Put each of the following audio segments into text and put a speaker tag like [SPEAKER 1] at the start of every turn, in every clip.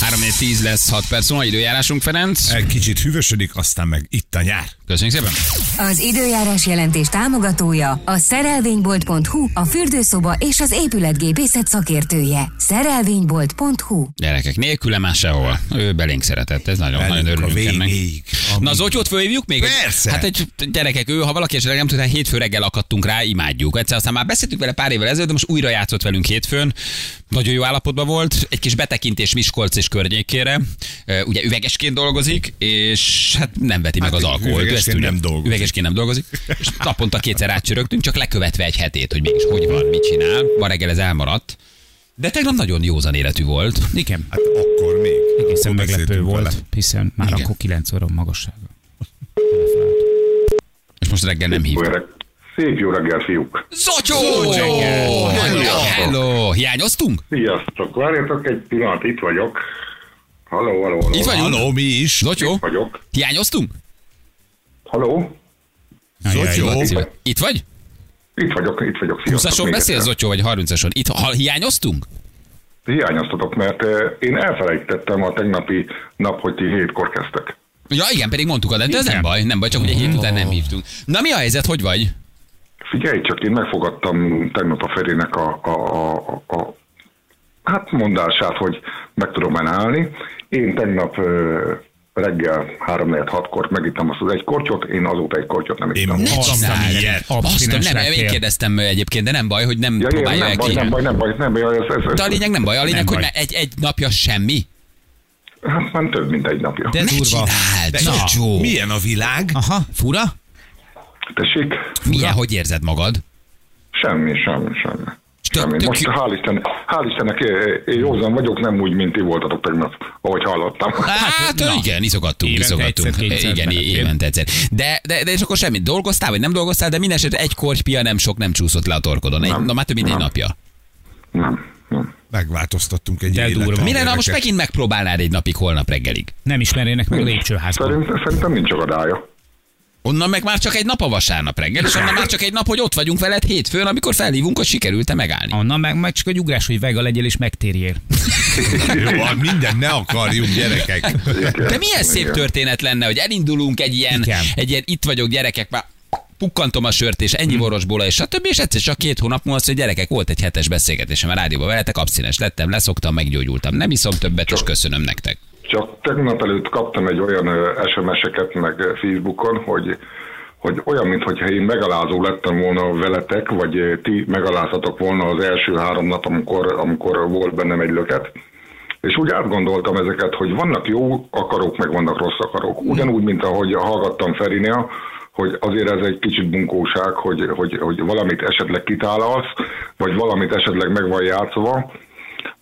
[SPEAKER 1] 3 10 lesz 6 perc, múlva időjárásunk, Ferenc.
[SPEAKER 2] Egy kicsit hűvösödik, aztán meg itt a nyár.
[SPEAKER 1] Köszönjük szépen.
[SPEAKER 3] Az időjárás jelentés támogatója a szerelvénybolt.hu, a fürdőszoba és az épületgépészet szakértője. Szerelvénybolt.hu
[SPEAKER 1] Gyerekek, nélküle már sehol. Ő belénk szeretett, ez nagyon,
[SPEAKER 2] Velünk
[SPEAKER 1] nagyon
[SPEAKER 2] a
[SPEAKER 1] örülünk ennek.
[SPEAKER 2] végéig.
[SPEAKER 1] Na, az otyót fölhívjuk még?
[SPEAKER 2] Persze.
[SPEAKER 1] Hát egy gyerekek, ő, ha valaki esetleg nem tudta, hétfő reggel akadtunk rá, imádjuk. Egyszer aztán már beszéltük vele pár évvel ezelőtt, de most újra játszott velünk hétfőn. Nagyon jó állapotban volt, egy kis betekintés Miskolc és környékére. Ö, Ugye üvegesként dolgozik, és hát nem veti meg
[SPEAKER 2] Hát
[SPEAKER 1] az
[SPEAKER 2] egy
[SPEAKER 1] alkoholt.
[SPEAKER 2] üvegesként
[SPEAKER 1] Ezt tudja.
[SPEAKER 2] nem dolgozik.
[SPEAKER 1] Üvegesként nem dolgozik. És naponta kétszer átcsörögtünk, csak lekövetve egy hetét, hogy mégis hogy van, mit csinál. Ma reggel ez elmaradt. De tegnap nagyon józan életű volt.
[SPEAKER 4] Igen,
[SPEAKER 2] Hát akkor még.
[SPEAKER 4] egészen
[SPEAKER 2] Akkor
[SPEAKER 4] meglepő
[SPEAKER 2] beszéltünk
[SPEAKER 4] volt,
[SPEAKER 2] vele.
[SPEAKER 4] hiszen már
[SPEAKER 1] Igen.
[SPEAKER 4] akkor 9 óra magassága.
[SPEAKER 1] És most reggel nem hívta.
[SPEAKER 5] Jó reg- Szép jó reggel, fiúk!
[SPEAKER 1] Zotyó! Hello! Hello! Hiányoztunk?
[SPEAKER 5] Sziasztok! Várjatok egy pillanat, itt vagyok. Halló, halló, halló.
[SPEAKER 1] Itt vagyunk?
[SPEAKER 2] Halló, mi is?
[SPEAKER 1] Zotyó?
[SPEAKER 5] vagyok.
[SPEAKER 1] Hiányoztunk?
[SPEAKER 5] Halló?
[SPEAKER 2] Zotyó?
[SPEAKER 1] Itt vagy?
[SPEAKER 5] Itt vagyok, itt vagyok. Sziasztok!
[SPEAKER 1] 20-ason
[SPEAKER 5] még
[SPEAKER 1] beszélsz,
[SPEAKER 5] egyszer.
[SPEAKER 1] Zotyó, vagy 30-ason? Itt ha, hiányoztunk?
[SPEAKER 5] Hiányoztatok, mert eh, én elfelejtettem a tegnapi nap, hogy ti hétkor kezdtek.
[SPEAKER 1] Ja igen, pedig mondtuk adat, de ez nem baj, nem baj, csak ugye hét után nem hívtunk. Na mi a helyzet, hogy vagy?
[SPEAKER 5] Figyelj csak, én megfogadtam tegnap a Ferének a, a, a, a, a hát mondását, hogy meg tudom már állni. Én tegnap ö, reggel 3 4 hatkor megittem azt az egy kortyot, én azóta egy kortyot nem
[SPEAKER 2] Én
[SPEAKER 5] ittam.
[SPEAKER 2] ma
[SPEAKER 1] Ne csináld!
[SPEAKER 2] ilyet.
[SPEAKER 1] Azt
[SPEAKER 4] Abstinens
[SPEAKER 1] nem,
[SPEAKER 4] lettél.
[SPEAKER 1] én kérdeztem ö, egyébként, de nem baj, hogy nem
[SPEAKER 5] Ja, ja,
[SPEAKER 1] próbálja
[SPEAKER 5] nem,
[SPEAKER 1] el
[SPEAKER 5] baj,
[SPEAKER 1] ki.
[SPEAKER 5] nem baj, nem baj, nem baj, ez, ez, ez,
[SPEAKER 1] De a lényeg nem baj, a lényeg,
[SPEAKER 4] Nem
[SPEAKER 1] hogy
[SPEAKER 4] baj.
[SPEAKER 1] már egy, egy napja semmi.
[SPEAKER 5] Hát már több, mint egy napja.
[SPEAKER 4] De
[SPEAKER 1] Ne
[SPEAKER 4] durva.
[SPEAKER 1] csináld,
[SPEAKER 2] De
[SPEAKER 1] Zotyó!
[SPEAKER 2] Milyen a világ?
[SPEAKER 1] Ah,
[SPEAKER 4] Aha, fura?
[SPEAKER 5] Tessék?
[SPEAKER 1] Milyen, hogy érzed magad?
[SPEAKER 5] Semmi, semmi, semmi.
[SPEAKER 1] Tök-
[SPEAKER 5] semmi.
[SPEAKER 1] tök
[SPEAKER 5] Most
[SPEAKER 1] jó.
[SPEAKER 5] hál' Istennek, hál' Istennek eh, eh, józan vagyok, nem úgy, mint ti voltatok tegnap, ahogy hallottam.
[SPEAKER 1] Hát
[SPEAKER 4] na.
[SPEAKER 1] igen, iszogattunk,
[SPEAKER 4] Évente
[SPEAKER 1] iszogattunk.
[SPEAKER 4] egyszer, kétszer
[SPEAKER 1] Igen,
[SPEAKER 4] menekül.
[SPEAKER 1] évente egyszer. De, de, de és akkor semmit, dolgoztál, vagy nem dolgoztál, de minden esetre egy kortypia nem sok nem csúszott le a torkodon. Egy,
[SPEAKER 5] Nem.
[SPEAKER 1] na már több mint egy
[SPEAKER 5] Nem.
[SPEAKER 1] napja.
[SPEAKER 5] Nem, nem.
[SPEAKER 2] Megváltoztattunk egy
[SPEAKER 4] De
[SPEAKER 2] életet.
[SPEAKER 4] durva.
[SPEAKER 1] Mi lenne, ha most
[SPEAKER 2] gyerekek.
[SPEAKER 1] megint megpróbálnád egy napig, holnap reggelig?
[SPEAKER 4] Nem ismernének meg a lépcsőházban.
[SPEAKER 5] Szerint, szerintem nincs akadálya.
[SPEAKER 1] Onnan meg már csak egy nap a vasárnap reggel, és onnan már csak egy nap, hogy ott vagyunk veled hétfőn, amikor felhívunk, hogy sikerült-e megállni.
[SPEAKER 4] Onnan meg, meg csak egy ugrás, hogy vega legyél és megtérjél.
[SPEAKER 2] Jó, hát minden ne akarjunk, gyerekek.
[SPEAKER 5] Igen.
[SPEAKER 1] Hát, De milyen szép
[SPEAKER 5] Igen.
[SPEAKER 1] történet lenne, hogy elindulunk egy ilyen,
[SPEAKER 4] Igen.
[SPEAKER 1] egy ilyen itt vagyok gyerekek, már pukkantom a sört, és
[SPEAKER 5] Mhm.
[SPEAKER 1] ennyi borosból, és stb. És egyszer csak két hónap múlva azt, hogy gyerekek, volt egy hetes beszélgetésem a rádióban veletek, abszines lettem, leszoktam, meggyógyultam. Nem iszom többet, és köszönöm nektek.
[SPEAKER 5] Csak tegnap előtt kaptam egy olyan ö, SMS-eket meg ö, Facebookon, hogy hogy olyan, mintha én megalázó lettem volna veletek, vagy ö, ti megaláztatok volna az első három nap, amikor, amikor volt bennem egy löket. És úgy átgondoltam ezeket, hogy vannak jó akarók, meg vannak rossz akarók. Ugyanúgy, mint ahogy hallgattam Ferinél, hogy azért ez egy kicsit bunkóság, hogy, hogy, hogy valamit esetleg kitálalsz, vagy valamit esetleg meg van játszva,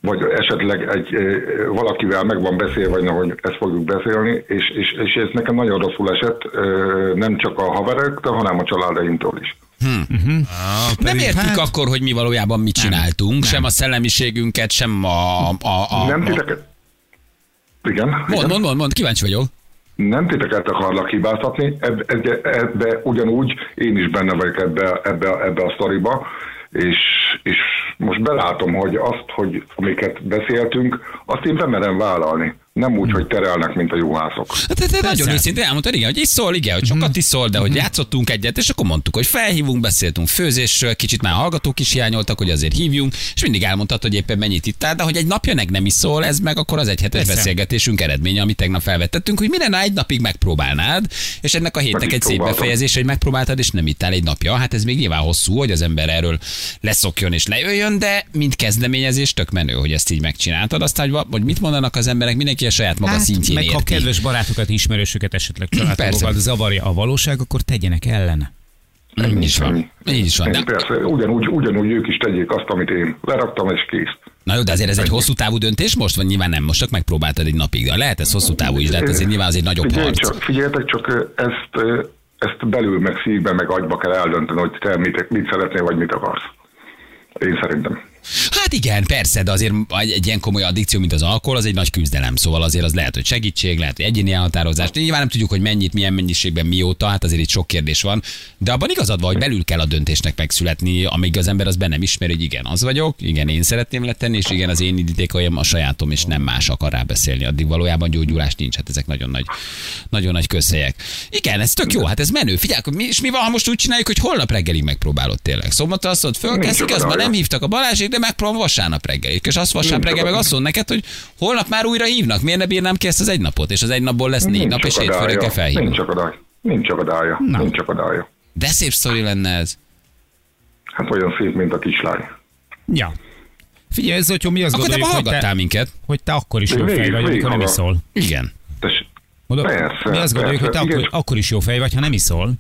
[SPEAKER 5] vagy esetleg egy, ö, valakivel meg van beszélve, na, hogy ezt fogjuk beszélni, és, és, és ez nekem nagyon rosszul esett, ö, nem csak a haverektől, hanem a családaimtól is.
[SPEAKER 1] Nem értik
[SPEAKER 5] Hát-
[SPEAKER 1] akkor, hogy mi valójában mit csináltunk, sem a szellemiségünket, sem a... a, a, a
[SPEAKER 5] nem
[SPEAKER 1] a...
[SPEAKER 5] titeket... Igen?
[SPEAKER 1] Mond,
[SPEAKER 5] igen.
[SPEAKER 1] mond, mond, mond, kíváncsi vagyok.
[SPEAKER 5] Nem titeket akarlak hibáztatni, ebbe, ebbe, ebbe ugyanúgy én is benne vagyok ebbe, ebbe, ebbe a sztoriba, és, és most belátom, hogy azt, hogy amiket beszéltünk, azt én bemerem vállalni. Nem úgy, hogy terelnek, mint a juhászok.
[SPEAKER 1] Hát te, te nagyon
[SPEAKER 4] Persze. Mhm.
[SPEAKER 1] őszintén elmondtad, igen, hogy iszol, igen, hogy sokat iszol, de hogy játszottunk egyet, és akkor mondtuk, hogy felhívunk, beszéltünk főzésről, kicsit már hallgatók is hiányoltak, hogy azért hívjunk, és mindig elmondtad, hogy éppen mennyit ittál, de hogy egy napja meg nem iszol, ez meg akkor az egyhetes
[SPEAKER 4] Persze.
[SPEAKER 1] beszélgetésünk eredménye, amit tegnap felvettettünk, hogy mi lenne, ha egy napig megpróbálnád, és ennek a hétnek
[SPEAKER 5] Meg is
[SPEAKER 1] egy szép
[SPEAKER 5] próbáltam.
[SPEAKER 1] befejezés, hogy megpróbáltad, és nem ittál egy napja. Hát ez még nyilván hosszú, hogy az ember erről leszokjon és lejöjjön, de mint kezdeményezés tök menő, hogy ezt így megcsináltad. Aztán, hogy, va- hogy mit mondanak az emberek, mindenki a saját maga szintjén
[SPEAKER 4] Hát, meg ha
[SPEAKER 1] érti.
[SPEAKER 4] kedves barátokat, ismerősöket, esetleg családtagokat
[SPEAKER 1] Persze.
[SPEAKER 4] zavarja a valóság, akkor tegyenek ellene.
[SPEAKER 1] Így is van. Így is van.
[SPEAKER 5] Én
[SPEAKER 1] De,
[SPEAKER 5] persze, ugyanúgy, ugyanúgy ők is tegyék azt, amit én leraktam, és kész.
[SPEAKER 1] na jó, de azért ez egy hosszú távú döntés most, vagy nyilván nem most, csak megpróbáltad egy napig. De lehet ez hosszú távú is, de hát azért nyilván az egy nagyobb
[SPEAKER 5] Figyelj
[SPEAKER 1] harc.
[SPEAKER 5] csak, figyeljetek csak, ezt, ezt belül, meg szívben, meg agyba kell eldönteni, hogy te mit, mit szeretnél, vagy mit akarsz. Én szerintem.
[SPEAKER 1] Hát igen, persze, de azért egy, egy ilyen komoly addikció, mint az alkohol, az egy nagy küzdelem. Szóval azért az lehet, hogy segítség, lehet, hogy egyéni elhatározás. Nyilván nem tudjuk, hogy mennyit, milyen mennyiségben, mióta, hát azért itt sok kérdés van. De abban igazad van, hogy belül kell a döntésnek megszületni, amíg az ember az be nem ismer, hogy igen, az vagyok, igen, én szeretném letenni, és igen, az én indítékaim a sajátom, és nem más akar rá beszélni. Addig valójában gyógyulás nincs, hát ezek nagyon nagy, nagyon nagy közhelyek. Igen, ez tök jó, hát ez menő. Figyelj, akkor mi, és mi van, ha most úgy csináljuk, hogy holnap reggelig megpróbálod tényleg. Szombaton azt mondod, fölkelsz,
[SPEAKER 5] Nincs
[SPEAKER 1] igaz, már nem
[SPEAKER 5] akadálya.
[SPEAKER 1] hívtak a Balázsék, de megpróbálom vasárnap reggelig. És azt vasárnap
[SPEAKER 5] Nincs
[SPEAKER 1] reggel meg
[SPEAKER 5] akadálya.
[SPEAKER 1] azt mond neked, hogy holnap már újra hívnak. Miért ne bírnám ki ezt az egy napot? És az egy napból lesz négy nap, és hétfő
[SPEAKER 5] akadálya.
[SPEAKER 1] reggel felhívnak.
[SPEAKER 5] Nincs akadálya. Nincs akadálya.
[SPEAKER 4] Na.
[SPEAKER 5] Nincs akadálya.
[SPEAKER 1] De szép sztori lenne ez.
[SPEAKER 5] Hát olyan szép, mint a kislány.
[SPEAKER 4] Ja. Figyelj, ez, hogyha mi azt
[SPEAKER 1] Akkor te
[SPEAKER 4] gondoljuk, hogy
[SPEAKER 1] hallgattál
[SPEAKER 4] te,
[SPEAKER 1] minket.
[SPEAKER 4] hogy te akkor is jó
[SPEAKER 5] Végig-
[SPEAKER 4] fej vagy,
[SPEAKER 5] végig
[SPEAKER 4] amikor nem
[SPEAKER 5] hallgat.
[SPEAKER 4] iszol.
[SPEAKER 1] Igen.
[SPEAKER 5] Tess,
[SPEAKER 4] Mondom,
[SPEAKER 5] Persze,
[SPEAKER 4] mi azt gondoljuk, hogy te
[SPEAKER 5] persze, igen.
[SPEAKER 4] akkor, akkor is jó fej vagy, ha nem iszol.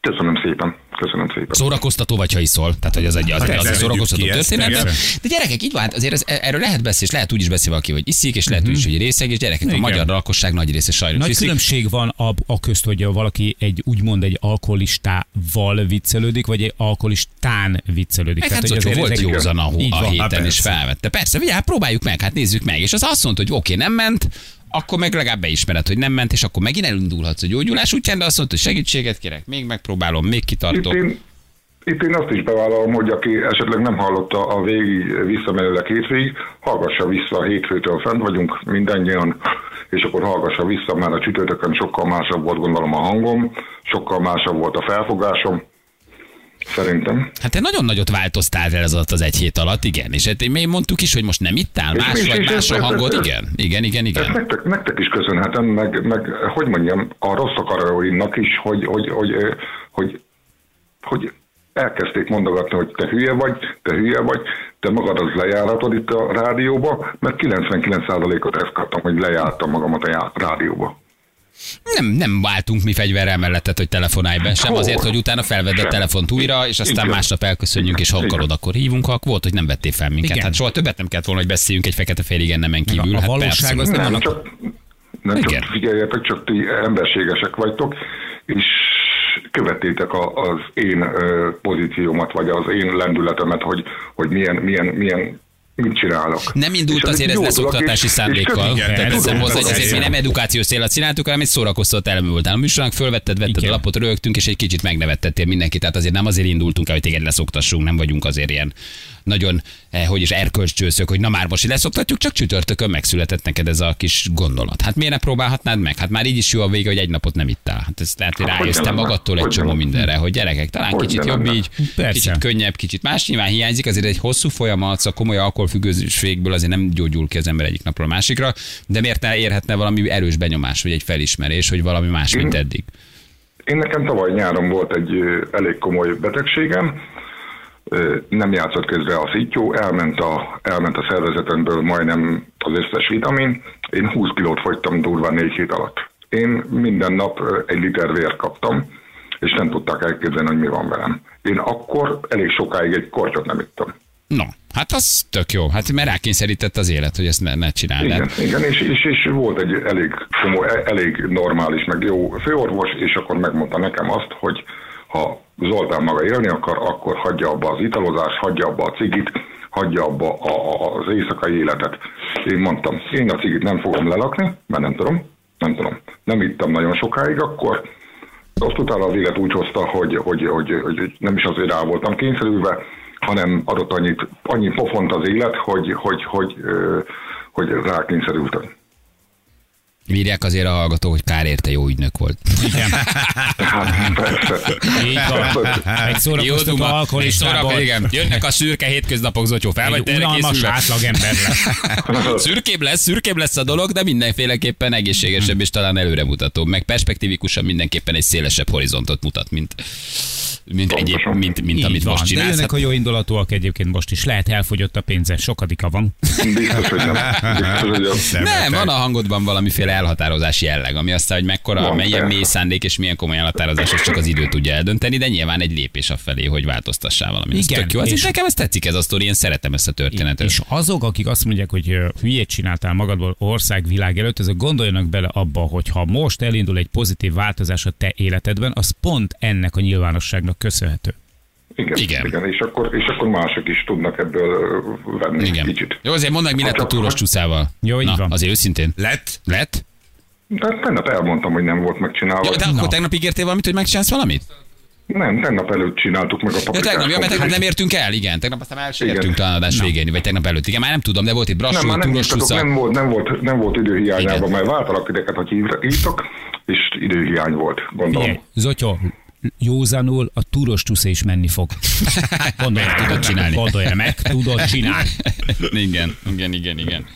[SPEAKER 5] köszönöm szépen. Köszönöm szépen.
[SPEAKER 1] Szóval Szórakoztató vagy, ha iszol. Tehát, hogy az egy, az,
[SPEAKER 2] Hát
[SPEAKER 1] az
[SPEAKER 2] ne
[SPEAKER 1] egy szórakoztató
[SPEAKER 2] vegyük ki ezt,
[SPEAKER 1] történet.
[SPEAKER 2] igen.
[SPEAKER 1] De gyerekek, így van, hát azért ez, erről lehet beszélni, és lehet úgy is beszél valaki, hogy iszik, és lehet úgy is, hogy részeg, és gyerekek, a
[SPEAKER 4] Mhm. Igen.
[SPEAKER 1] magyar lakosság nagy része sajnos
[SPEAKER 4] Nagy
[SPEAKER 1] iszik.
[SPEAKER 4] különbség van a, a közt, hogy valaki egy úgymond egy alkoholistával viccelődik, vagy egy alkoholistán viccelődik.
[SPEAKER 1] Meg hát
[SPEAKER 4] hogy
[SPEAKER 1] Zocsó
[SPEAKER 4] azért
[SPEAKER 1] volt
[SPEAKER 4] ezek-
[SPEAKER 1] józan a,
[SPEAKER 4] Így
[SPEAKER 1] a
[SPEAKER 4] van. Hát
[SPEAKER 1] héten,
[SPEAKER 2] persze.
[SPEAKER 1] és felvette. Persze, ugye, hát próbáljuk meg, hát nézzük meg. És az azt mondta, hogy oké, nem ment, akkor meg legalább beismered, hogy nem ment, és akkor megint elindulhatsz a gyógyulás útján, de azt mondta, hogy segítséget kérek, még megpróbálom, még
[SPEAKER 5] Itt
[SPEAKER 1] kitartok.
[SPEAKER 5] én, itt én azt is bevállalom, hogy aki esetleg nem hallotta a végig visszamenőleg hétfőig, hallgassa vissza a hétfőtől fent vagyunk mindannyian, és akkor hallgassa vissza, mert a csütörtökön sokkal másabb volt gondolom a hangom, sokkal másabb volt a felfogásom, szerintem.
[SPEAKER 1] Hát te nagyon nagyot változtál el ez alatt az egy hét alatt, igen. És hát mi mondtuk is, hogy most nem ittál,
[SPEAKER 5] És
[SPEAKER 1] más
[SPEAKER 5] mi
[SPEAKER 1] vagy
[SPEAKER 5] is
[SPEAKER 1] más a
[SPEAKER 5] ezt-
[SPEAKER 1] hangod,
[SPEAKER 5] ezt-
[SPEAKER 1] igen. Igen, igen,
[SPEAKER 5] Ezt
[SPEAKER 1] igen.
[SPEAKER 5] Hát nektek, nektek is köszönhetem, meg, meg hogy mondjam, a rossz akaróinak is, hogy, hogy, hogy, ö, hogy, hogy elkezdték mondogatni, hogy te hülye vagy, te hülye vagy, te magadat lejáratod itt a rádióba, mert 99%-ot ezt kaptam, hogy lejártam magamat a já- rádióba.
[SPEAKER 1] Nem, nem váltunk mi fegyverrel mellettet, hogy telefonálj be, sem
[SPEAKER 5] Hol?
[SPEAKER 1] azért, hogy utána felvedd a
[SPEAKER 5] Sem.
[SPEAKER 1] telefont újra, és aztán
[SPEAKER 5] Igen.
[SPEAKER 1] másnap elköszönjünk, és ha
[SPEAKER 5] Igen.
[SPEAKER 1] akarod, akkor hívunk, ha ak- volt, hogy nem vettél fel minket.
[SPEAKER 4] Igen.
[SPEAKER 1] Hát soha többet nem kellett volna, hogy beszéljünk egy fekete félig ennemen
[SPEAKER 4] Meg a-
[SPEAKER 1] kívül.
[SPEAKER 4] a
[SPEAKER 1] hát
[SPEAKER 4] valóság az
[SPEAKER 1] persze.
[SPEAKER 4] nem
[SPEAKER 5] Nem,
[SPEAKER 4] annak-
[SPEAKER 5] csak, nem
[SPEAKER 1] Igen.
[SPEAKER 5] csak figyeljetek, csak ti emberségesek vagytok, és követétek a, az én ö, pozíciómat, vagy az én lendületemet, hogy, hogy milyen, milyen, milyen mit csinálok.
[SPEAKER 1] Nem indult
[SPEAKER 5] És
[SPEAKER 1] azért ez
[SPEAKER 5] józlak,
[SPEAKER 1] lesz oktatási
[SPEAKER 5] és-
[SPEAKER 1] szándékkal.
[SPEAKER 5] És
[SPEAKER 2] Igen,
[SPEAKER 1] Tehát
[SPEAKER 4] tudom,
[SPEAKER 1] teszem hozzá, hogy
[SPEAKER 4] tudom,
[SPEAKER 1] ezért mi
[SPEAKER 2] igen.
[SPEAKER 1] nem edukációs célra csináltuk, hanem egy szórakoztató elem volt. A műsornak fölvetted, vetted
[SPEAKER 4] Igen.
[SPEAKER 1] a lapot, rögtünk, és egy kicsit megnevettettél mindenkit. Tehát azért nem azért indultunk el, hogy téged leszoktassunk, nem vagyunk azért ilyen nagyon, eh, hogy is erkölcscsőszök, hogy na már most így leszoktatjuk, csak csütörtökön megszületett neked ez a kis gondolat. Hát miért ne próbálhatnád meg? Hát már így is jó a vége, hogy egy napot nem ittál. Hát ezt lehet, hogy
[SPEAKER 5] Hát hogy
[SPEAKER 1] rájöttem
[SPEAKER 5] ne lenne?
[SPEAKER 1] magadtól egy
[SPEAKER 5] Hogy ne
[SPEAKER 1] csomó
[SPEAKER 5] lenne?
[SPEAKER 1] mindenre, hogy gyerekek, talán
[SPEAKER 5] Hogy
[SPEAKER 1] kicsit
[SPEAKER 5] ne
[SPEAKER 1] jobb
[SPEAKER 5] lenne?
[SPEAKER 1] így,
[SPEAKER 4] Persze.
[SPEAKER 1] kicsit könnyebb, kicsit más. Nyilván hiányzik, azért egy hosszú folyamat, szóval komoly alkoholfüggőségből azért nem gyógyul ki az ember egyik napról a másikra, de miért ne érhetne valami erős benyomás, vagy egy felismerés, hogy valami más, mint eddig?
[SPEAKER 5] Én nekem tavaly nyáron volt egy ö, elég komoly betegségem, Ö, nem játszott közre a szittyó, elment a, elment a szervezetemből majdnem az összes vitamin, én 20 kilót fogytam durván négy hét alatt. Én minden nap ö, egy liter vért kaptam, és nem tudták elképzelni, hogy mi van velem. Én akkor elég sokáig egy kortyot nem ittam.
[SPEAKER 1] No, hát az tök jó. Hát mert rákényszerített az élet, hogy ezt ne, ne csináld.
[SPEAKER 5] Igen,
[SPEAKER 1] Hát
[SPEAKER 5] igen és, és, és volt egy elég, komoly, elég normális, meg jó főorvos, és akkor megmondta nekem azt, hogy ha Zoltán maga élni akar, akkor hagyja abba az italozást, hagyja abba a cigit, hagyja abba a, a, az éjszakai életet. Én mondtam, én a cigit nem fogom lelakni, mert nem tudom, nem tudom. Nem ittam nagyon sokáig, akkor azt utána az élet úgy hozta, hogy, hogy, hogy, hogy nem is azért rá voltam kényszerülve, hanem adott annyit, annyi pofont az élet, hogy, hogy, hogy, ö, hogy rákényszerültem.
[SPEAKER 1] írják azért a hallgató, hogy kár érte jó ügynök volt.
[SPEAKER 4] Igen.
[SPEAKER 5] Hát persze. Hát,
[SPEAKER 4] Így van. Egy szórakoztató alkoholistából.
[SPEAKER 1] igen. Jönnek a szürke hétköznapok, Zotyó, fel vagy
[SPEAKER 4] Egy
[SPEAKER 1] te erre
[SPEAKER 4] unalmas
[SPEAKER 1] készülve?
[SPEAKER 4] átlagember lesz.
[SPEAKER 5] hát,
[SPEAKER 1] Szürkébb lesz, szürkébb lesz a dolog, de mindenféleképpen egészségesebb és talán előremutató, meg perspektívikusan mindenképpen egy szélesebb horizontot mutat, mint, mint, egyéb,
[SPEAKER 5] Pontosan.
[SPEAKER 1] mint, mint
[SPEAKER 4] Így
[SPEAKER 1] amit
[SPEAKER 4] van.
[SPEAKER 1] most
[SPEAKER 4] De
[SPEAKER 1] csinálsz.
[SPEAKER 4] jönnek
[SPEAKER 1] Hát,
[SPEAKER 4] a jó indulatúak egyébként most is. Lehet elfogyott a pénze, sokadika van.
[SPEAKER 5] Biztos, hogy nem. Biztos, hogy nem.
[SPEAKER 1] nem, van a hangodban valamiféle elhatározás jelleg, ami aztán, hogy mekkora,
[SPEAKER 5] Van,
[SPEAKER 1] milyen
[SPEAKER 5] persze.
[SPEAKER 1] mély szándék és milyen komoly elhatározás, azt csak az idő tudja eldönteni, de nyilván egy lépés afelé, hogy változtassál valamit. Ez
[SPEAKER 4] Igen,
[SPEAKER 1] tök jó. Ez
[SPEAKER 4] és-
[SPEAKER 1] és nekem ez tetszik ez a sztori, én szeretem ezt a történetet.
[SPEAKER 4] És azok, akik azt mondják, hogy ö, hülyét csináltál magadból ország világ előtt, azok gondoljanak bele abba, hogy ha most elindul egy pozitív változás a te életedben, az pont ennek a nyilvánosságnak köszönhető.
[SPEAKER 5] Igen,
[SPEAKER 1] Igen.
[SPEAKER 5] igen. igen. És, akkor, és akkor mások is tudnak ebből ö, venni
[SPEAKER 1] Igen.
[SPEAKER 5] kicsit.
[SPEAKER 1] Jó, azért mondd meg, mi
[SPEAKER 5] Ha
[SPEAKER 1] lett a
[SPEAKER 5] csak-
[SPEAKER 1] túros
[SPEAKER 5] ha-
[SPEAKER 1] csúszával.
[SPEAKER 4] Jó, így
[SPEAKER 1] Na,
[SPEAKER 4] van.
[SPEAKER 1] azért őszintén.
[SPEAKER 2] Lett?
[SPEAKER 1] Lett?
[SPEAKER 5] De tegnap elmondtam, hogy nem volt megcsinálva.
[SPEAKER 1] Jó, de akkor tegnap ígértél valamit, hogy megcsinálsz valamit?
[SPEAKER 5] Nem, tegnap előtt csináltuk meg a
[SPEAKER 1] Ja,
[SPEAKER 5] paprikás
[SPEAKER 1] tegnap, ja, mert tegnap
[SPEAKER 5] komplit.
[SPEAKER 1] nem értünk el, igen. Tegnap aztán elsértünk
[SPEAKER 5] hát- Igen.
[SPEAKER 1] talán adás végén, vagy tegnap előtt. Igen, már nem tudom, de volt itt
[SPEAKER 5] Nem,
[SPEAKER 1] brassú,
[SPEAKER 5] már nem
[SPEAKER 1] túros
[SPEAKER 5] hívtatok,
[SPEAKER 1] csúsza.
[SPEAKER 5] nem volt, nem volt, nem volt
[SPEAKER 1] Igen.
[SPEAKER 5] időhiányában, mert váltalak ideket, hogy hívra- hívtok, és időhiány volt, gondolom.
[SPEAKER 4] Figyelj, Zotyó, józanul a túros tusz is menni fog. Gondolj,
[SPEAKER 1] Meg tudod csinálni.
[SPEAKER 4] Gondolja meg, tudod csinálni.
[SPEAKER 1] igen, igen, igen, igen.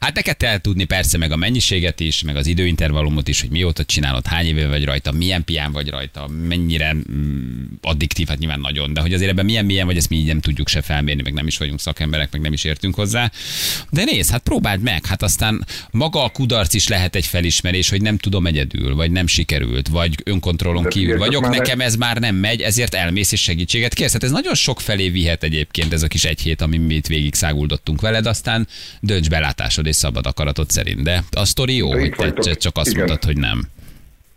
[SPEAKER 1] Hát neked kell tudni persze meg a mennyiséget is, meg az időintervallumot is, hogy mióta csinálod, hány éve vagy rajta, milyen pián vagy rajta, mennyire mm, addiktív, hát nyilván nagyon, de hogy azért ebben milyen milyen vagy, ezt mi így nem tudjuk se felmérni, meg nem is vagyunk szakemberek, meg nem is értünk hozzá. De nézd, hát próbáld meg, hát aztán maga a kudarc is lehet egy felismerés, hogy nem tudom egyedül, vagy nem sikerült, vagy önkontrollon
[SPEAKER 5] De
[SPEAKER 1] kívül
[SPEAKER 5] figyelj, csak
[SPEAKER 1] vagyok,
[SPEAKER 5] már
[SPEAKER 1] nekem ez már nem megy, ezért elmész és segítséget kérsz. Tehát ez nagyon sok felé vihet egyébként ez a kis egy hét, ami mi itt végig száguldottunk veled, aztán dönts belátásod és szabad akaratod szerint. De a sztori jó,
[SPEAKER 5] De
[SPEAKER 1] hogy
[SPEAKER 5] itt
[SPEAKER 1] te
[SPEAKER 5] vagytok.
[SPEAKER 1] c- csak azt
[SPEAKER 5] Igen.
[SPEAKER 1] mondtad, hogy nem.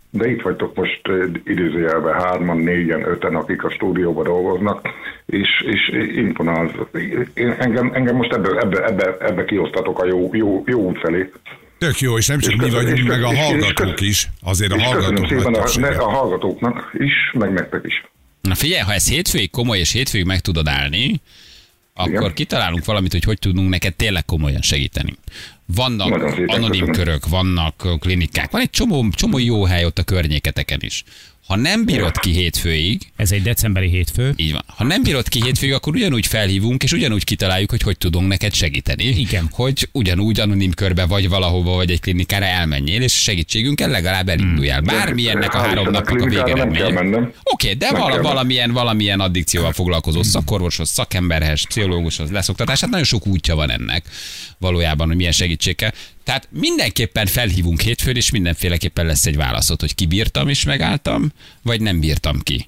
[SPEAKER 5] De itt vagytok most eh, idézőjelben hárman, négyen, öten, akik a stúdióban dolgoznak, és, és imponál. Én, engem, engem most ebbe, ebbe, ebbe, ebbe kiosztatok a jó, jó, jó út felé.
[SPEAKER 2] Tök jó, és nem csak
[SPEAKER 5] És
[SPEAKER 2] mi
[SPEAKER 5] köszönöm,
[SPEAKER 2] vagyunk,
[SPEAKER 5] és
[SPEAKER 2] meg a
[SPEAKER 5] köszönöm, és
[SPEAKER 2] hallgatók
[SPEAKER 5] köszönöm.
[SPEAKER 2] is. Azért a
[SPEAKER 5] és köszönöm
[SPEAKER 2] hallgatók
[SPEAKER 5] szépen
[SPEAKER 2] nagy
[SPEAKER 5] a, ne-
[SPEAKER 2] többsége.
[SPEAKER 5] a hallgatóknak is, meg nektek is.
[SPEAKER 1] Na figyelj, ha ez hétfőig komoly és hétfőig meg tudod állni, akkor
[SPEAKER 5] Igen.
[SPEAKER 1] kitalálunk valamit, hogy hogy tudunk neked tényleg komolyan segíteni. Vannak
[SPEAKER 5] Nagyon szépen
[SPEAKER 1] anonim
[SPEAKER 5] köszönöm.
[SPEAKER 1] körök, vannak ö, klinikák, van egy csomó, csomó jó hely ott a környéketeken is. Ha nem bírod ki hétfőig,
[SPEAKER 4] Ez egy decemberi hétfő.
[SPEAKER 1] Így van. Ha nem bírod ki hétfőig, akkor ugyanúgy felhívunk, és ugyanúgy kitaláljuk, hogy hogy tudunk neked segíteni.
[SPEAKER 4] Igen.
[SPEAKER 1] Hogy ugyanúgy anonim körbe vagy valahova, vagy egy klinikára elmenjél, és segítségünkkel legalább
[SPEAKER 5] Hmm.
[SPEAKER 1] elinduljál. Bármilyennek a
[SPEAKER 5] Hál'
[SPEAKER 1] három
[SPEAKER 5] Istennek
[SPEAKER 1] napnak a
[SPEAKER 5] klinikára nem kell
[SPEAKER 1] végeredménye.
[SPEAKER 5] mennem.
[SPEAKER 1] Oké, de
[SPEAKER 5] Nem
[SPEAKER 1] vala,
[SPEAKER 5] kell.
[SPEAKER 1] valamilyen, valamilyen addikcióval foglalkozó szakorvoshoz, szakemberhez, pszichológushoz, leszoktatás, hát nagyon sok útja van ennek valójában, hogy milyen segítség kell. Tehát mindenképpen felhívunk hétfőn, és mindenféleképpen lesz egy válaszod, hogy kibírtam és megálltam, vagy nem bírtam ki.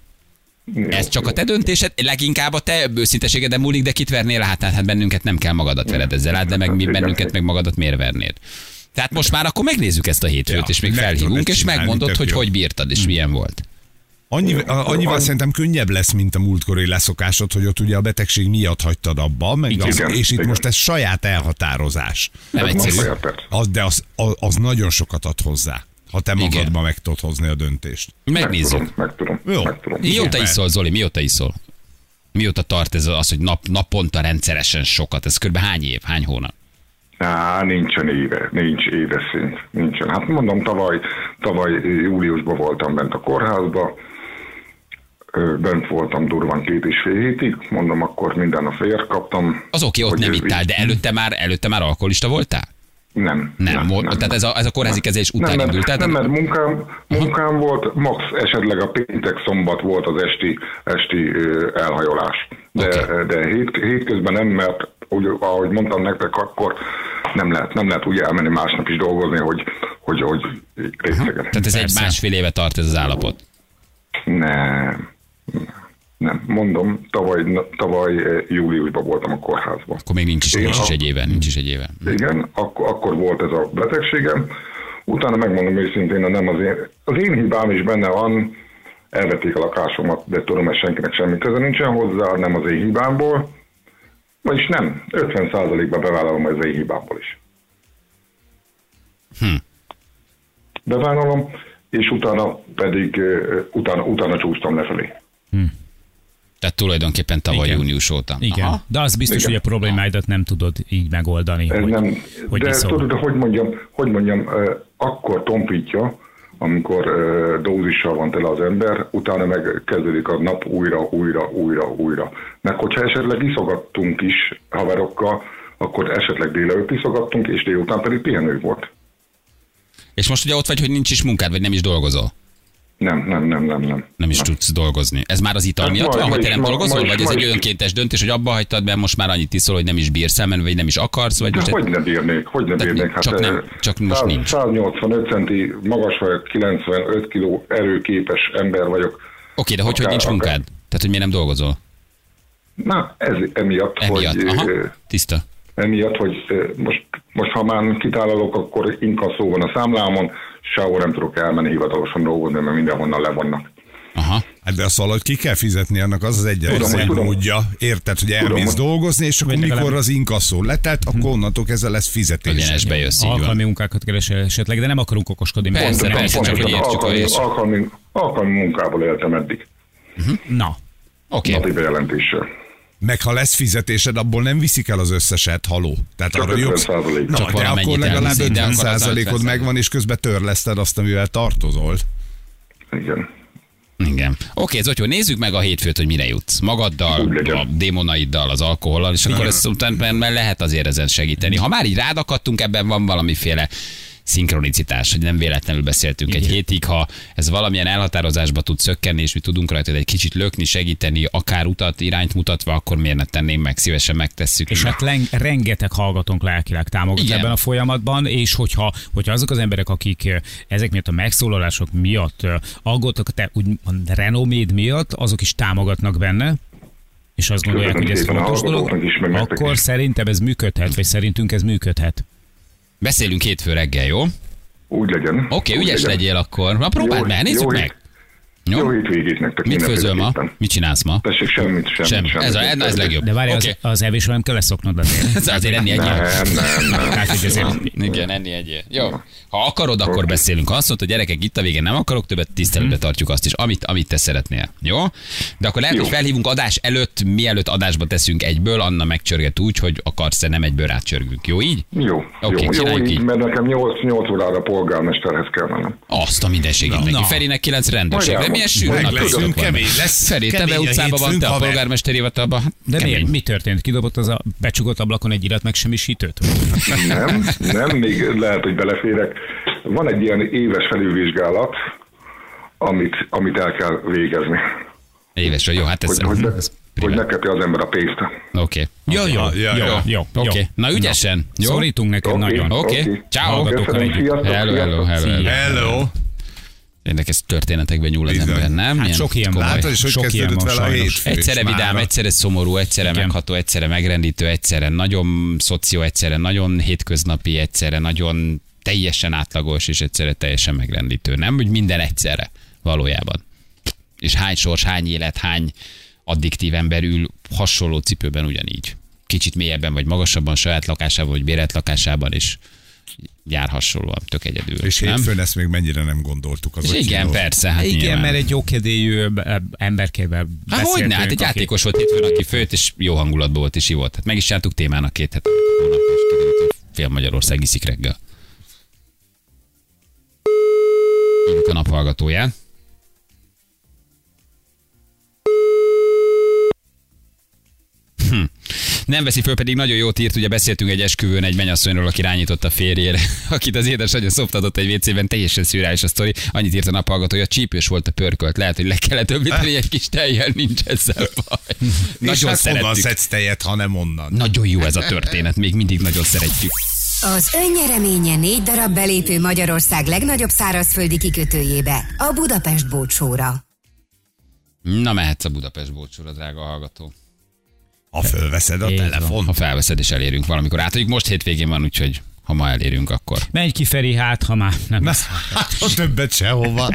[SPEAKER 1] Ez csak a te döntésed, leginkább a te őszinteségeden múlik, de kit vernél hát, hát bennünket nem kell magadat vered ezzel át, de meg mi bennünket meg magadat miért vernéd. Tehát most már akkor megnézzük ezt a hétfőt,
[SPEAKER 2] Ja,
[SPEAKER 1] és még
[SPEAKER 2] meg
[SPEAKER 1] felhívunk,
[SPEAKER 2] tudod
[SPEAKER 1] és
[SPEAKER 2] csinálni,
[SPEAKER 1] megmondod,
[SPEAKER 2] tök
[SPEAKER 1] hogy
[SPEAKER 2] jó.
[SPEAKER 1] hogy bírtad, és milyen volt.
[SPEAKER 2] Annyi, a- annyival
[SPEAKER 5] Annyi-
[SPEAKER 2] szerintem könnyebb lesz, mint a múltkori leszokásod, hogy ott ugye a betegség miatt hagytad abba, meg
[SPEAKER 5] Igen.
[SPEAKER 2] az,
[SPEAKER 5] Igen,
[SPEAKER 2] és itt
[SPEAKER 5] igen.
[SPEAKER 2] most ez saját elhatározás.
[SPEAKER 1] Nem
[SPEAKER 5] Ez ma
[SPEAKER 1] egyszerű.
[SPEAKER 5] saját perc.
[SPEAKER 2] Az, de az, az, az nagyon sokat ad hozzá, ha te
[SPEAKER 1] Igen.
[SPEAKER 2] magadba meg tudod hozni a döntést.
[SPEAKER 1] Megnézzük.
[SPEAKER 5] Meg tudom, meg
[SPEAKER 2] Jó.
[SPEAKER 5] tudom. Meg tudom.
[SPEAKER 1] Mióta
[SPEAKER 2] Szuper.
[SPEAKER 1] iszol, Zoli? Mióta iszol? Mióta tart ez az, hogy nap, naponta rendszeresen sokat? Ez kb. hány év, hány hónap?
[SPEAKER 5] Á, nincsen éve, nincs éves szint, nincsen. Hát mondom, tavaly, tavaly júliusban voltam bent a kórházba, Ö, bent voltam durván két és fél hétig, mondom, akkor minden a fér kaptam.
[SPEAKER 1] Az oké, ott
[SPEAKER 5] Hogy
[SPEAKER 1] nem
[SPEAKER 5] ő
[SPEAKER 1] ittál,
[SPEAKER 5] így-
[SPEAKER 1] de előtte már, előtte már alkoholista voltál?
[SPEAKER 5] Nem.
[SPEAKER 1] Nem, mo- tehát ez a- ez a kórházi kezelés után
[SPEAKER 5] nem,
[SPEAKER 1] indult,
[SPEAKER 5] Mert,
[SPEAKER 1] tehát-
[SPEAKER 5] nem, mert munkám, munkám volt, max esetleg a péntek szombat volt az esti, esti ö, elhajolás. De,
[SPEAKER 1] Oké.
[SPEAKER 5] okay. de hét, hétközben nem, mert úgy, ahogy mondtam nektek, akkor nem lehet, nem lehet úgy elmenni másnap is dolgozni, hogy, hogy, hogy részegen.
[SPEAKER 1] Tehát ez egy
[SPEAKER 4] Persze.
[SPEAKER 1] másfél éve tart ez az állapot.
[SPEAKER 5] Nem. Nem, mondom, tavaly, tavaly eh, júliusban voltam a kórházban.
[SPEAKER 1] Akkor még nincs is,
[SPEAKER 5] Igen,
[SPEAKER 1] nincs is
[SPEAKER 5] a-
[SPEAKER 1] egy éve, nincs is egy éve.
[SPEAKER 5] Igen, akkor, akkor volt ez a betegségem. Utána megmondom őszintén, hogy nem az én, az én hibám is benne van, elvették a lakásomat, de tudom, hogy senkinek semmi köze nincsen hozzá, nem az én hibámból. Vagyis nem, 50%-ba bevállalom hogy az én hibámból is. Hm. Bevállalom, és utána pedig, ö, utána, utána csúsztam lefelé.
[SPEAKER 1] Tehát tulajdonképpen tavaly
[SPEAKER 4] Igen.
[SPEAKER 1] június óta.
[SPEAKER 4] Igen.
[SPEAKER 1] Aha.
[SPEAKER 4] De az biztos,
[SPEAKER 5] Igen.
[SPEAKER 4] hogy a problémáidat nem tudod így megoldani,
[SPEAKER 5] Ez
[SPEAKER 4] hogy,
[SPEAKER 5] nem,
[SPEAKER 4] hogy
[SPEAKER 5] de
[SPEAKER 4] iszol.
[SPEAKER 5] tudod, hogy mondjam, hogy mondjam, ö, akkor tompítja, amikor ö, dózissal van tele az ember, utána meg kezdődik a nap újra, újra, újra, újra. Meg hogyha esetleg iszogattunk is haverokkal, akkor esetleg délelőtt iszogattunk, és délután pedig pihenő volt.
[SPEAKER 1] És most ugye ott vagy, hogy nincs is munkád, vagy nem is dolgozol.
[SPEAKER 5] Nem, nem, nem, nem, nem.
[SPEAKER 1] Nem is tudsz dolgozni. Ez már az ital
[SPEAKER 5] Hát
[SPEAKER 1] miatt
[SPEAKER 5] ma-
[SPEAKER 1] van,
[SPEAKER 5] ma
[SPEAKER 1] hogy te
[SPEAKER 5] is-
[SPEAKER 1] nem
[SPEAKER 5] ma- ma
[SPEAKER 1] dolgozol,
[SPEAKER 5] is-
[SPEAKER 1] vagy ez
[SPEAKER 5] ma
[SPEAKER 1] egy
[SPEAKER 5] is-
[SPEAKER 1] önkéntes döntés, hogy abba hagytad, mert most már annyit iszol, hogy nem is bírsz elmenni, vagy nem is akarsz, vagy
[SPEAKER 5] De
[SPEAKER 1] most...
[SPEAKER 5] hogy ne bírnék, hogy ne
[SPEAKER 1] Tehát
[SPEAKER 5] bírnék. Hát,
[SPEAKER 1] mi- csak nem- csak most nincs.
[SPEAKER 5] 185 centi magas vagyok, 95 kiló erőképes ember vagyok.
[SPEAKER 1] Oké, de hogy, hogy
[SPEAKER 5] Akár-
[SPEAKER 1] nincs
[SPEAKER 5] akár-
[SPEAKER 1] munkád? Tehát, hogy miért nem dolgozol?
[SPEAKER 5] Na, ez emiatt,
[SPEAKER 1] Emiatt.
[SPEAKER 5] hogy...
[SPEAKER 1] Aha,
[SPEAKER 5] ö,
[SPEAKER 1] tiszta.
[SPEAKER 5] emiatt, hogy eh, most, most ha már kitálalok, akkor inkasszó van a számlámon, sehol nem tudok elmenni hivatalosan dolgozni, mert mindenhonnan levonnak.
[SPEAKER 1] Aha.
[SPEAKER 2] Hát de azt valahogy ki kell fizetni, annak az az egyetlen
[SPEAKER 5] Tudom,
[SPEAKER 2] egy
[SPEAKER 5] tudom.
[SPEAKER 2] módja. Érted, hogy elmész
[SPEAKER 5] hogy-
[SPEAKER 2] dolgozni, és akkor
[SPEAKER 4] Vagy legalább-
[SPEAKER 2] mikor az inkasszó letelt,
[SPEAKER 1] Hm.
[SPEAKER 2] akkor onnantól kezdve lesz fizetés.
[SPEAKER 1] Egyenesbe jössz, így van.
[SPEAKER 4] Alkalmi munkákat keresel esetleg, de nem akarunk okoskodni, mert
[SPEAKER 1] Persze,
[SPEAKER 4] ezzel nem
[SPEAKER 1] persze,
[SPEAKER 4] is-
[SPEAKER 1] csak hogy
[SPEAKER 5] Pontosan,
[SPEAKER 1] értsük, hogy
[SPEAKER 5] alkalmi,
[SPEAKER 1] értsük.
[SPEAKER 5] alkalmi, alkalmi munkából éltem eddig,
[SPEAKER 4] Na,
[SPEAKER 1] Oké.
[SPEAKER 5] napi bejelentéssel.
[SPEAKER 2] Meg ha lesz fizetésed, abból nem viszik el az összeset, haló. Tehát
[SPEAKER 5] Csak
[SPEAKER 2] arra jogsz.
[SPEAKER 5] 50%.
[SPEAKER 2] Na,
[SPEAKER 5] Csak
[SPEAKER 2] de
[SPEAKER 1] valamennyit
[SPEAKER 2] akkor legalább
[SPEAKER 1] elviszik, de akkor
[SPEAKER 2] 50
[SPEAKER 1] az
[SPEAKER 2] százalékod
[SPEAKER 1] 50%.
[SPEAKER 2] megvan, és közben törleszted azt, amivel tartozol.
[SPEAKER 5] Igen.
[SPEAKER 1] Igen. Oké, Zotyó, nézzük meg a hétfőt, hogy mire jutsz.
[SPEAKER 5] Úgy
[SPEAKER 1] Magaddal,
[SPEAKER 5] legyen.
[SPEAKER 1] a démonaiddal, az alkohollal, és akkor ezt után mert- mert lehet azért ezen segíteni. Ha már így rád akadtunk, ebben van valamiféle szinkronicitás, hogy nem véletlenül beszéltünk egy hétig, ha ez valamilyen elhatározásba tud szökkenni, és mi tudunk rajta egy kicsit lökni, segíteni, akár utat, irányt mutatva, akkor miért ne tenném meg, szívesen megtesszük.
[SPEAKER 4] És hát len- rengeteg hallgatónk lelkileg támogat
[SPEAKER 1] Igen.
[SPEAKER 4] Igen. ebben a folyamatban, és hogyha, hogyha azok az emberek, akik eh, ezek miatt a megszólalások miatt eh, aggódtak, te úgymond renoméd miatt, azok is támogatnak benne, és azt gondolják, hogy
[SPEAKER 5] Köszönöm
[SPEAKER 4] ez
[SPEAKER 5] szépen a
[SPEAKER 4] fontos dolog,
[SPEAKER 5] hallgatóknak is, meg nektek
[SPEAKER 4] akkor
[SPEAKER 5] is.
[SPEAKER 4] szerintem ez működhet, vagy szerintünk ez működhet.
[SPEAKER 1] Beszélünk hétfő reggel, jó? Oké,
[SPEAKER 5] Úgy legyen.
[SPEAKER 1] okay,
[SPEAKER 5] Úgy
[SPEAKER 1] ügyes
[SPEAKER 5] legyen.
[SPEAKER 1] legyél akkor. Na próbáld
[SPEAKER 5] Jó-
[SPEAKER 1] meg, nézzük
[SPEAKER 5] jó
[SPEAKER 1] meg.
[SPEAKER 5] Jó,
[SPEAKER 1] Jó?
[SPEAKER 5] jó hétvégét nektek.
[SPEAKER 1] Mit
[SPEAKER 5] mindenféle
[SPEAKER 1] főzöl ma?
[SPEAKER 5] képen.
[SPEAKER 1] Mit csinálsz ma?
[SPEAKER 5] Tessék, semmit, semmit.
[SPEAKER 1] Sem.
[SPEAKER 5] semmit
[SPEAKER 1] Ez, a, ez legjobb.
[SPEAKER 4] De várj,
[SPEAKER 1] Oké.
[SPEAKER 4] okay. az, az evésről nem kell leszoknod azért.
[SPEAKER 1] Ez azért enni egyél.
[SPEAKER 5] Nem, nem, nem.
[SPEAKER 4] Tehát, hogy azért
[SPEAKER 1] Igen, enni egyél. Jó. Ha akarod, akkor beszélünk. Ha azt mondta, gyerekek, itt a végén nem akarok többet, tiszteletbe
[SPEAKER 4] Mhm.
[SPEAKER 1] tartjuk azt is, amit, amit te szeretnél. Jó? De akkor lehet,
[SPEAKER 5] Jó.
[SPEAKER 1] hogy felhívunk adás előtt, mielőtt adásba teszünk egyből, Anna megcsörget úgy, hogy akarsz-e, nem egyből rácsörgünk. Jó így?
[SPEAKER 5] Jó,
[SPEAKER 1] Oké,
[SPEAKER 5] jó, jó,
[SPEAKER 1] csináljuk így.
[SPEAKER 5] így, mert nekem 8, 8 órára a polgármesterhez kell mennem.
[SPEAKER 1] Azt a minden segít neki.
[SPEAKER 4] Na.
[SPEAKER 1] Ferinek kilenc rendőrségre.
[SPEAKER 5] Majd
[SPEAKER 1] Milyen sűrű
[SPEAKER 5] elmond.
[SPEAKER 1] napja
[SPEAKER 5] Megleszünk,
[SPEAKER 1] van.
[SPEAKER 2] kemény lesz.
[SPEAKER 1] Feri, te
[SPEAKER 2] Kemény
[SPEAKER 1] be
[SPEAKER 2] a
[SPEAKER 1] utcában van,
[SPEAKER 2] hétfőnk,
[SPEAKER 1] te a
[SPEAKER 2] haver.
[SPEAKER 1] polgármesteri hivatalban. Hát,
[SPEAKER 4] De
[SPEAKER 1] kemény.
[SPEAKER 4] miért? Mi történt? Kidobott az a becsukott ablakon egy iratmegsemmisítőt?
[SPEAKER 5] Nem, nem, még lehet, hogy beleférek. Van egy ilyen éves felülvizsgálat, amit, amit el kell végezni.
[SPEAKER 1] Éves, vagy jó, hát ez...
[SPEAKER 5] Hogy, hogy, ne,
[SPEAKER 1] ez
[SPEAKER 5] hogy
[SPEAKER 1] privát.
[SPEAKER 5] ne kapja az ember a pénzt.
[SPEAKER 1] Oké.
[SPEAKER 4] Jó, jó,
[SPEAKER 2] Ja, ja,
[SPEAKER 4] jó,
[SPEAKER 2] ja.
[SPEAKER 4] jó.
[SPEAKER 1] Oké. Na, ügyesen.
[SPEAKER 4] Jó.
[SPEAKER 1] Jó?
[SPEAKER 4] Szorítunk neked
[SPEAKER 5] Oké.
[SPEAKER 4] nagyon.
[SPEAKER 1] Oké.
[SPEAKER 5] Oké.
[SPEAKER 1] Ciao.
[SPEAKER 4] Hallgatókkal
[SPEAKER 5] Köszönöm,
[SPEAKER 4] együtt.
[SPEAKER 5] sziasztok,
[SPEAKER 1] Hello, hello,
[SPEAKER 5] sziasztok.
[SPEAKER 1] hello. hello.
[SPEAKER 2] Hello!
[SPEAKER 1] Érdekes történetekben nyúl az
[SPEAKER 2] Bizony.
[SPEAKER 1] ember, nem?
[SPEAKER 4] Hát sok ilyen van.
[SPEAKER 2] Látod is, hogy
[SPEAKER 4] Sok ilyen
[SPEAKER 2] kezdődött
[SPEAKER 4] van,
[SPEAKER 2] vele a
[SPEAKER 4] sajnos.
[SPEAKER 2] hétfő.
[SPEAKER 1] Egyszerre
[SPEAKER 2] Mára.
[SPEAKER 1] vidám, egyszerre szomorú, egyszerre
[SPEAKER 4] Igen.
[SPEAKER 1] megható, egyszerre megrendítő, egyszerre nagyon szoció, egyszerre nagyon hétköznapi, egyszerre nagyon teljesen átlagos, és egyszerre teljesen megrendítő. Nem, hogy minden egyszerre valójában. És hány sors, hány élet, hány addiktív ember ül hasonló cipőben ugyanígy. Kicsit mélyebben vagy magasabban, saját lakásában vagy bérelt lakásában is jár hasonlóan, tök egyedül.
[SPEAKER 2] És
[SPEAKER 1] nem?
[SPEAKER 2] hétfőn ezt még mennyire nem gondoltuk az
[SPEAKER 1] És igen,
[SPEAKER 2] Ocsinóról.
[SPEAKER 1] persze, hát
[SPEAKER 4] Igen,
[SPEAKER 1] nyilván.
[SPEAKER 4] mert egy jókedélyű emberkével
[SPEAKER 1] Há, hogy ne? Hát egy játékos volt hétfőn, aki főt, és jó hangulatban volt, és hívott. Hát meg is jártuk témának két hát hónap, és kiderült, hogy fél Magyarország iszik reggel. Hívjuk a naphallgatóját. Hm. Nem veszi föl, pedig nagyon jót írt, ugye beszéltünk egy esküvőn egy mennyasszonyról, aki rányított a férjére, akit az édesanyja szoptatott egy WC-ben, teljesen szürális a sztori. Annyit írt a naphallgató, hogy a csípős volt a pörkölt, lehet, hogy le kellett ömlíteni egy kis tejjel, nincs ezzel baj.
[SPEAKER 2] És
[SPEAKER 1] Nagyon
[SPEAKER 2] hát honnan
[SPEAKER 1] szeretjük.
[SPEAKER 2] szedsz tejet, ha nem onnan?
[SPEAKER 1] Nagyon jó ez a történet, még mindig nagyon szeretjük.
[SPEAKER 3] Az önnyereménye négy darab belépő Magyarország legnagyobb szárazföldi kikötőjébe, a Budapest bócsóra.
[SPEAKER 1] Na mehetsz a Budapest bócsúra, drága hallgató.
[SPEAKER 2] Ha fölveszed a
[SPEAKER 4] Így van.
[SPEAKER 2] telefon.
[SPEAKER 1] Ha felveszed és elérünk valamikor. Átadjuk most hétvégén van, úgyhogy ha ma elérünk, akkor.
[SPEAKER 4] Menj ki Feri, hát ha már nem.
[SPEAKER 2] Na, hát ha többet sehova.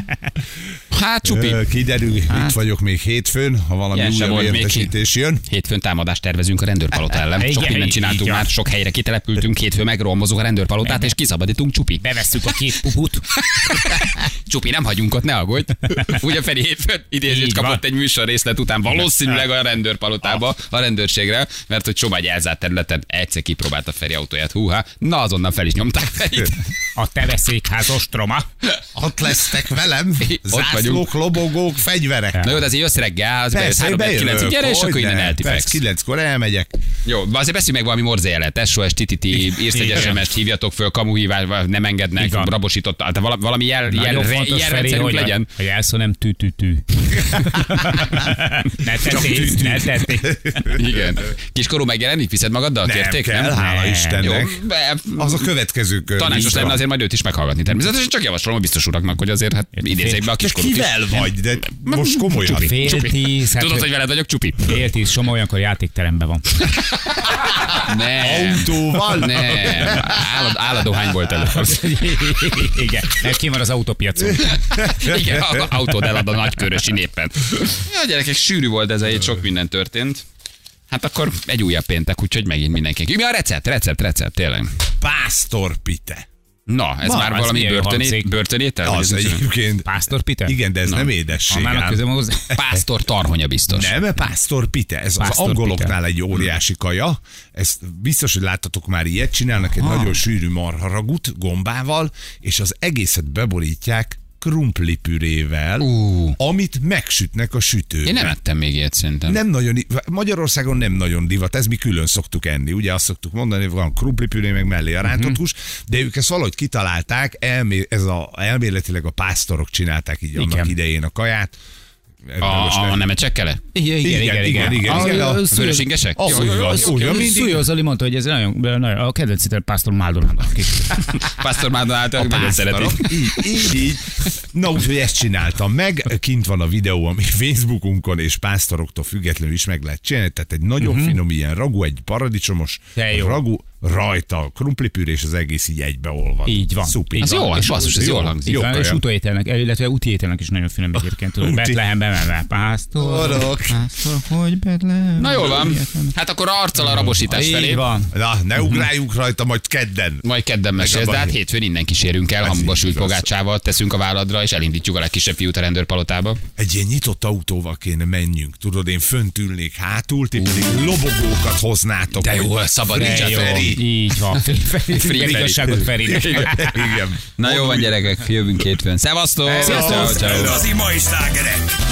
[SPEAKER 1] Hát csupi. Hát.
[SPEAKER 2] Ö, Kiderül, itt vagyok még hétfőn, ha valami
[SPEAKER 1] Ilyen sem
[SPEAKER 2] újabb
[SPEAKER 1] volt még ki.
[SPEAKER 2] értesítés jön.
[SPEAKER 1] Hétfőn támádást tervezünk a rendőrpalota ellen. Sok
[SPEAKER 4] Igen,
[SPEAKER 1] mindent
[SPEAKER 4] így
[SPEAKER 1] csináltunk
[SPEAKER 4] van.
[SPEAKER 1] már, sok helyre kitelepültünk, hétfőn megrohamozzuk a rendőrpalotát, és kiszabadítunk csupi.
[SPEAKER 4] Bevesszük a két puput.
[SPEAKER 1] Csupi, nem hagyunk ott, ne aggódj. Ugye Feri hétfőn idézést
[SPEAKER 4] Így van.
[SPEAKER 1] kapott egy műsor részlet után valószínűleg a rendőrpalotába, a rendőrségre, mert hogy Somágy elzárt területen egyszer kipróbálta Feri autóját. Húha, na azonnal fel is nyomták Ferit.
[SPEAKER 4] A te veszékház ostroma.
[SPEAKER 2] Ott lesztek velem,
[SPEAKER 1] vagyunk.
[SPEAKER 2] zászlók, lobogók, fegyverek.
[SPEAKER 1] Na jó, de azért jössz reggel, az
[SPEAKER 2] Persze,
[SPEAKER 1] bejött
[SPEAKER 2] hogy
[SPEAKER 1] 3 9
[SPEAKER 2] bejövök,
[SPEAKER 1] gyere, és
[SPEAKER 2] hogy
[SPEAKER 1] akkor innen
[SPEAKER 2] ne.
[SPEAKER 1] eltifex.
[SPEAKER 2] Persze, Kilenckor elmegyek.
[SPEAKER 1] Jó, azért beszélj meg valami morzéjelet, SOS, TTT, írsz egy
[SPEAKER 4] Igen.
[SPEAKER 1] SMS-t, hívjatok föl, kamuhívás, nem engednek,
[SPEAKER 4] Így van.
[SPEAKER 1] rabosított, tehát vala- valami jel, jel,
[SPEAKER 4] Nagyon
[SPEAKER 1] re-
[SPEAKER 4] fontos Feri,
[SPEAKER 1] jelrendszerünk
[SPEAKER 4] hogy
[SPEAKER 1] legyen.
[SPEAKER 4] a jelszó nem tű-tű-tű. ne tettél, ne tettél.
[SPEAKER 1] Igen. Kiskorú megjelenik, viszed magaddal?
[SPEAKER 2] Nem
[SPEAKER 1] Kérték?
[SPEAKER 2] kell, hála
[SPEAKER 4] Nem.
[SPEAKER 1] Jó,
[SPEAKER 2] Istennek.
[SPEAKER 1] be-
[SPEAKER 2] Az a következő kör.
[SPEAKER 1] Tanácsos
[SPEAKER 2] Így van.
[SPEAKER 1] lenne azért azért majd őt is meghallgatni természetesen, csak javaslom a biztos uraknak, hogy azért hát idézzék be a
[SPEAKER 2] Te
[SPEAKER 1] kiskorút is.
[SPEAKER 2] kivel vagy? De most komolyan.
[SPEAKER 1] Csupi,
[SPEAKER 4] Fél
[SPEAKER 1] csupi.
[SPEAKER 4] tíz, hát-
[SPEAKER 1] Tudod, hogy veled vagyok, csupi?
[SPEAKER 4] Fél tíz, Soma olyankor játékteremben van.
[SPEAKER 1] Nem.
[SPEAKER 2] Autóval?
[SPEAKER 1] Nem. Álad, álladohány volt előtt.
[SPEAKER 4] Igen, mert ki van az autópiacon.
[SPEAKER 1] Igen, a- autód elad a nagykörösi népen. Ja, gyerekek, sűrű volt ez a hét, sok minden történt. Hát akkor egy újabb péntek, úgyhogy megint mindenki. Mi a recept? Recept, recept, tényleg.
[SPEAKER 2] Pásztor Pite.
[SPEAKER 1] Na, ez
[SPEAKER 4] Na,
[SPEAKER 1] már
[SPEAKER 4] ez
[SPEAKER 1] valami
[SPEAKER 4] milyen jó
[SPEAKER 1] börtöné,
[SPEAKER 4] hangzik.
[SPEAKER 1] börtönétel? Vagy ez
[SPEAKER 2] Az
[SPEAKER 1] micsoda?
[SPEAKER 2] egyébként.
[SPEAKER 4] Pásztor Pite?
[SPEAKER 2] Igen, de ez nem
[SPEAKER 4] Ha
[SPEAKER 2] édesség.
[SPEAKER 4] már a
[SPEAKER 2] ám.
[SPEAKER 4] közöm hozzá.
[SPEAKER 1] Pásztor tarhonya biztos.
[SPEAKER 2] Nem, Pásztor Pite. Ez az
[SPEAKER 4] Pásztor
[SPEAKER 2] angoloknál egy óriási kaja. Ezt biztos, hogy láttatok már ilyet. Csinálnak egy nagyon sűrű marharagut gombával, és az egészet beborítják krumplipürével,
[SPEAKER 1] Ú.
[SPEAKER 2] amit megsütnek a sütőben.
[SPEAKER 1] Én nem ettem még ilyet szerintem.
[SPEAKER 2] Nem nagyon, Magyarországon nem nagyon divat, ez mi külön szoktuk enni. Ugye azt szoktuk mondani, hogy van krumplipüré, meg mellé a rántott hús, de ők ezt valahogy kitalálták, elmé, ez a, elméletileg a pásztorok csinálták így annak
[SPEAKER 4] Igen.
[SPEAKER 2] idején a kaját. Ebben most
[SPEAKER 1] A, a
[SPEAKER 2] nem-
[SPEAKER 1] nem csekkele?
[SPEAKER 4] Igen, igen, igen. igen,
[SPEAKER 2] igen, igen.
[SPEAKER 4] A-
[SPEAKER 2] A
[SPEAKER 4] Szúlyos-
[SPEAKER 1] vörös ingesek?
[SPEAKER 4] Az
[SPEAKER 1] Jó,
[SPEAKER 4] úgy
[SPEAKER 1] jó,
[SPEAKER 4] van.
[SPEAKER 1] jó,
[SPEAKER 2] jó, jó, mindig.
[SPEAKER 4] Szúlyó Zoli mondta, hogy ez nagyon, nagyon a kedvenc itt a Pásztor Máldonában.
[SPEAKER 1] Pásztor már általában nagyon
[SPEAKER 2] Pásztorok.
[SPEAKER 1] szeretik.
[SPEAKER 2] Így, így, így. Na úgyhogy ezt csináltam meg, kint van a videó, ami Facebookunkon és pásztoroktól függetlenül is meg lehet csinálni, tehát egy nagyon
[SPEAKER 1] Mhm.
[SPEAKER 2] uh-huh. finom ilyen ragu, egy paradicsomos
[SPEAKER 4] De jó.
[SPEAKER 2] ragu, rajta a krumplipűr és az egész így egybeolvad.
[SPEAKER 4] Így van.
[SPEAKER 2] Szuper.
[SPEAKER 4] Így
[SPEAKER 1] Ez jó,
[SPEAKER 4] van.
[SPEAKER 1] ez basszus, ez jól hangzik.
[SPEAKER 4] Jó,
[SPEAKER 2] Jó
[SPEAKER 4] és
[SPEAKER 2] kaja.
[SPEAKER 4] utóételnek, illetve úti ételnek is nagyon finom egyébként. Tudod, Betlehembe menve. Pásztorok.
[SPEAKER 2] Orok.
[SPEAKER 4] Pásztorok, hogy Betlehem.
[SPEAKER 1] Na jól van. Hát akkor arccal a rabosítás
[SPEAKER 4] Így
[SPEAKER 1] felé.
[SPEAKER 4] van.
[SPEAKER 2] Na,
[SPEAKER 1] Mhm.
[SPEAKER 2] ne ugráljunk rajta, majd kedden.
[SPEAKER 1] Majd kedden mesélsz,
[SPEAKER 2] abban
[SPEAKER 1] de hát
[SPEAKER 2] hét.
[SPEAKER 1] hétfőn innen kísérünk el,
[SPEAKER 2] Ez
[SPEAKER 1] hamuba
[SPEAKER 2] Hát így
[SPEAKER 1] sült
[SPEAKER 2] igaz.
[SPEAKER 1] pogácsával, teszünk a váladra, és elindítjuk a legkisebb fiút a rendőrpalotába.
[SPEAKER 2] Egy ilyen nyitott autóval kéne menjünk. Tudod, én fönt ülnék hátul, ti pedig lobogókat hoznátok.
[SPEAKER 1] De jó,
[SPEAKER 2] hogy
[SPEAKER 1] szabad
[SPEAKER 2] Free
[SPEAKER 1] így a
[SPEAKER 4] Jó,
[SPEAKER 2] Feri.
[SPEAKER 4] Így van. Feri, Feri,
[SPEAKER 1] Feri.
[SPEAKER 4] meg igazságot Feri.
[SPEAKER 2] Igen.
[SPEAKER 1] Na jó van, gyerekek, jövünk hétfőn. Szevasztok!
[SPEAKER 2] Szevasztok!
[SPEAKER 1] Ciao, ciao.
[SPEAKER 2] Hello.
[SPEAKER 6] Az ima is slágerek.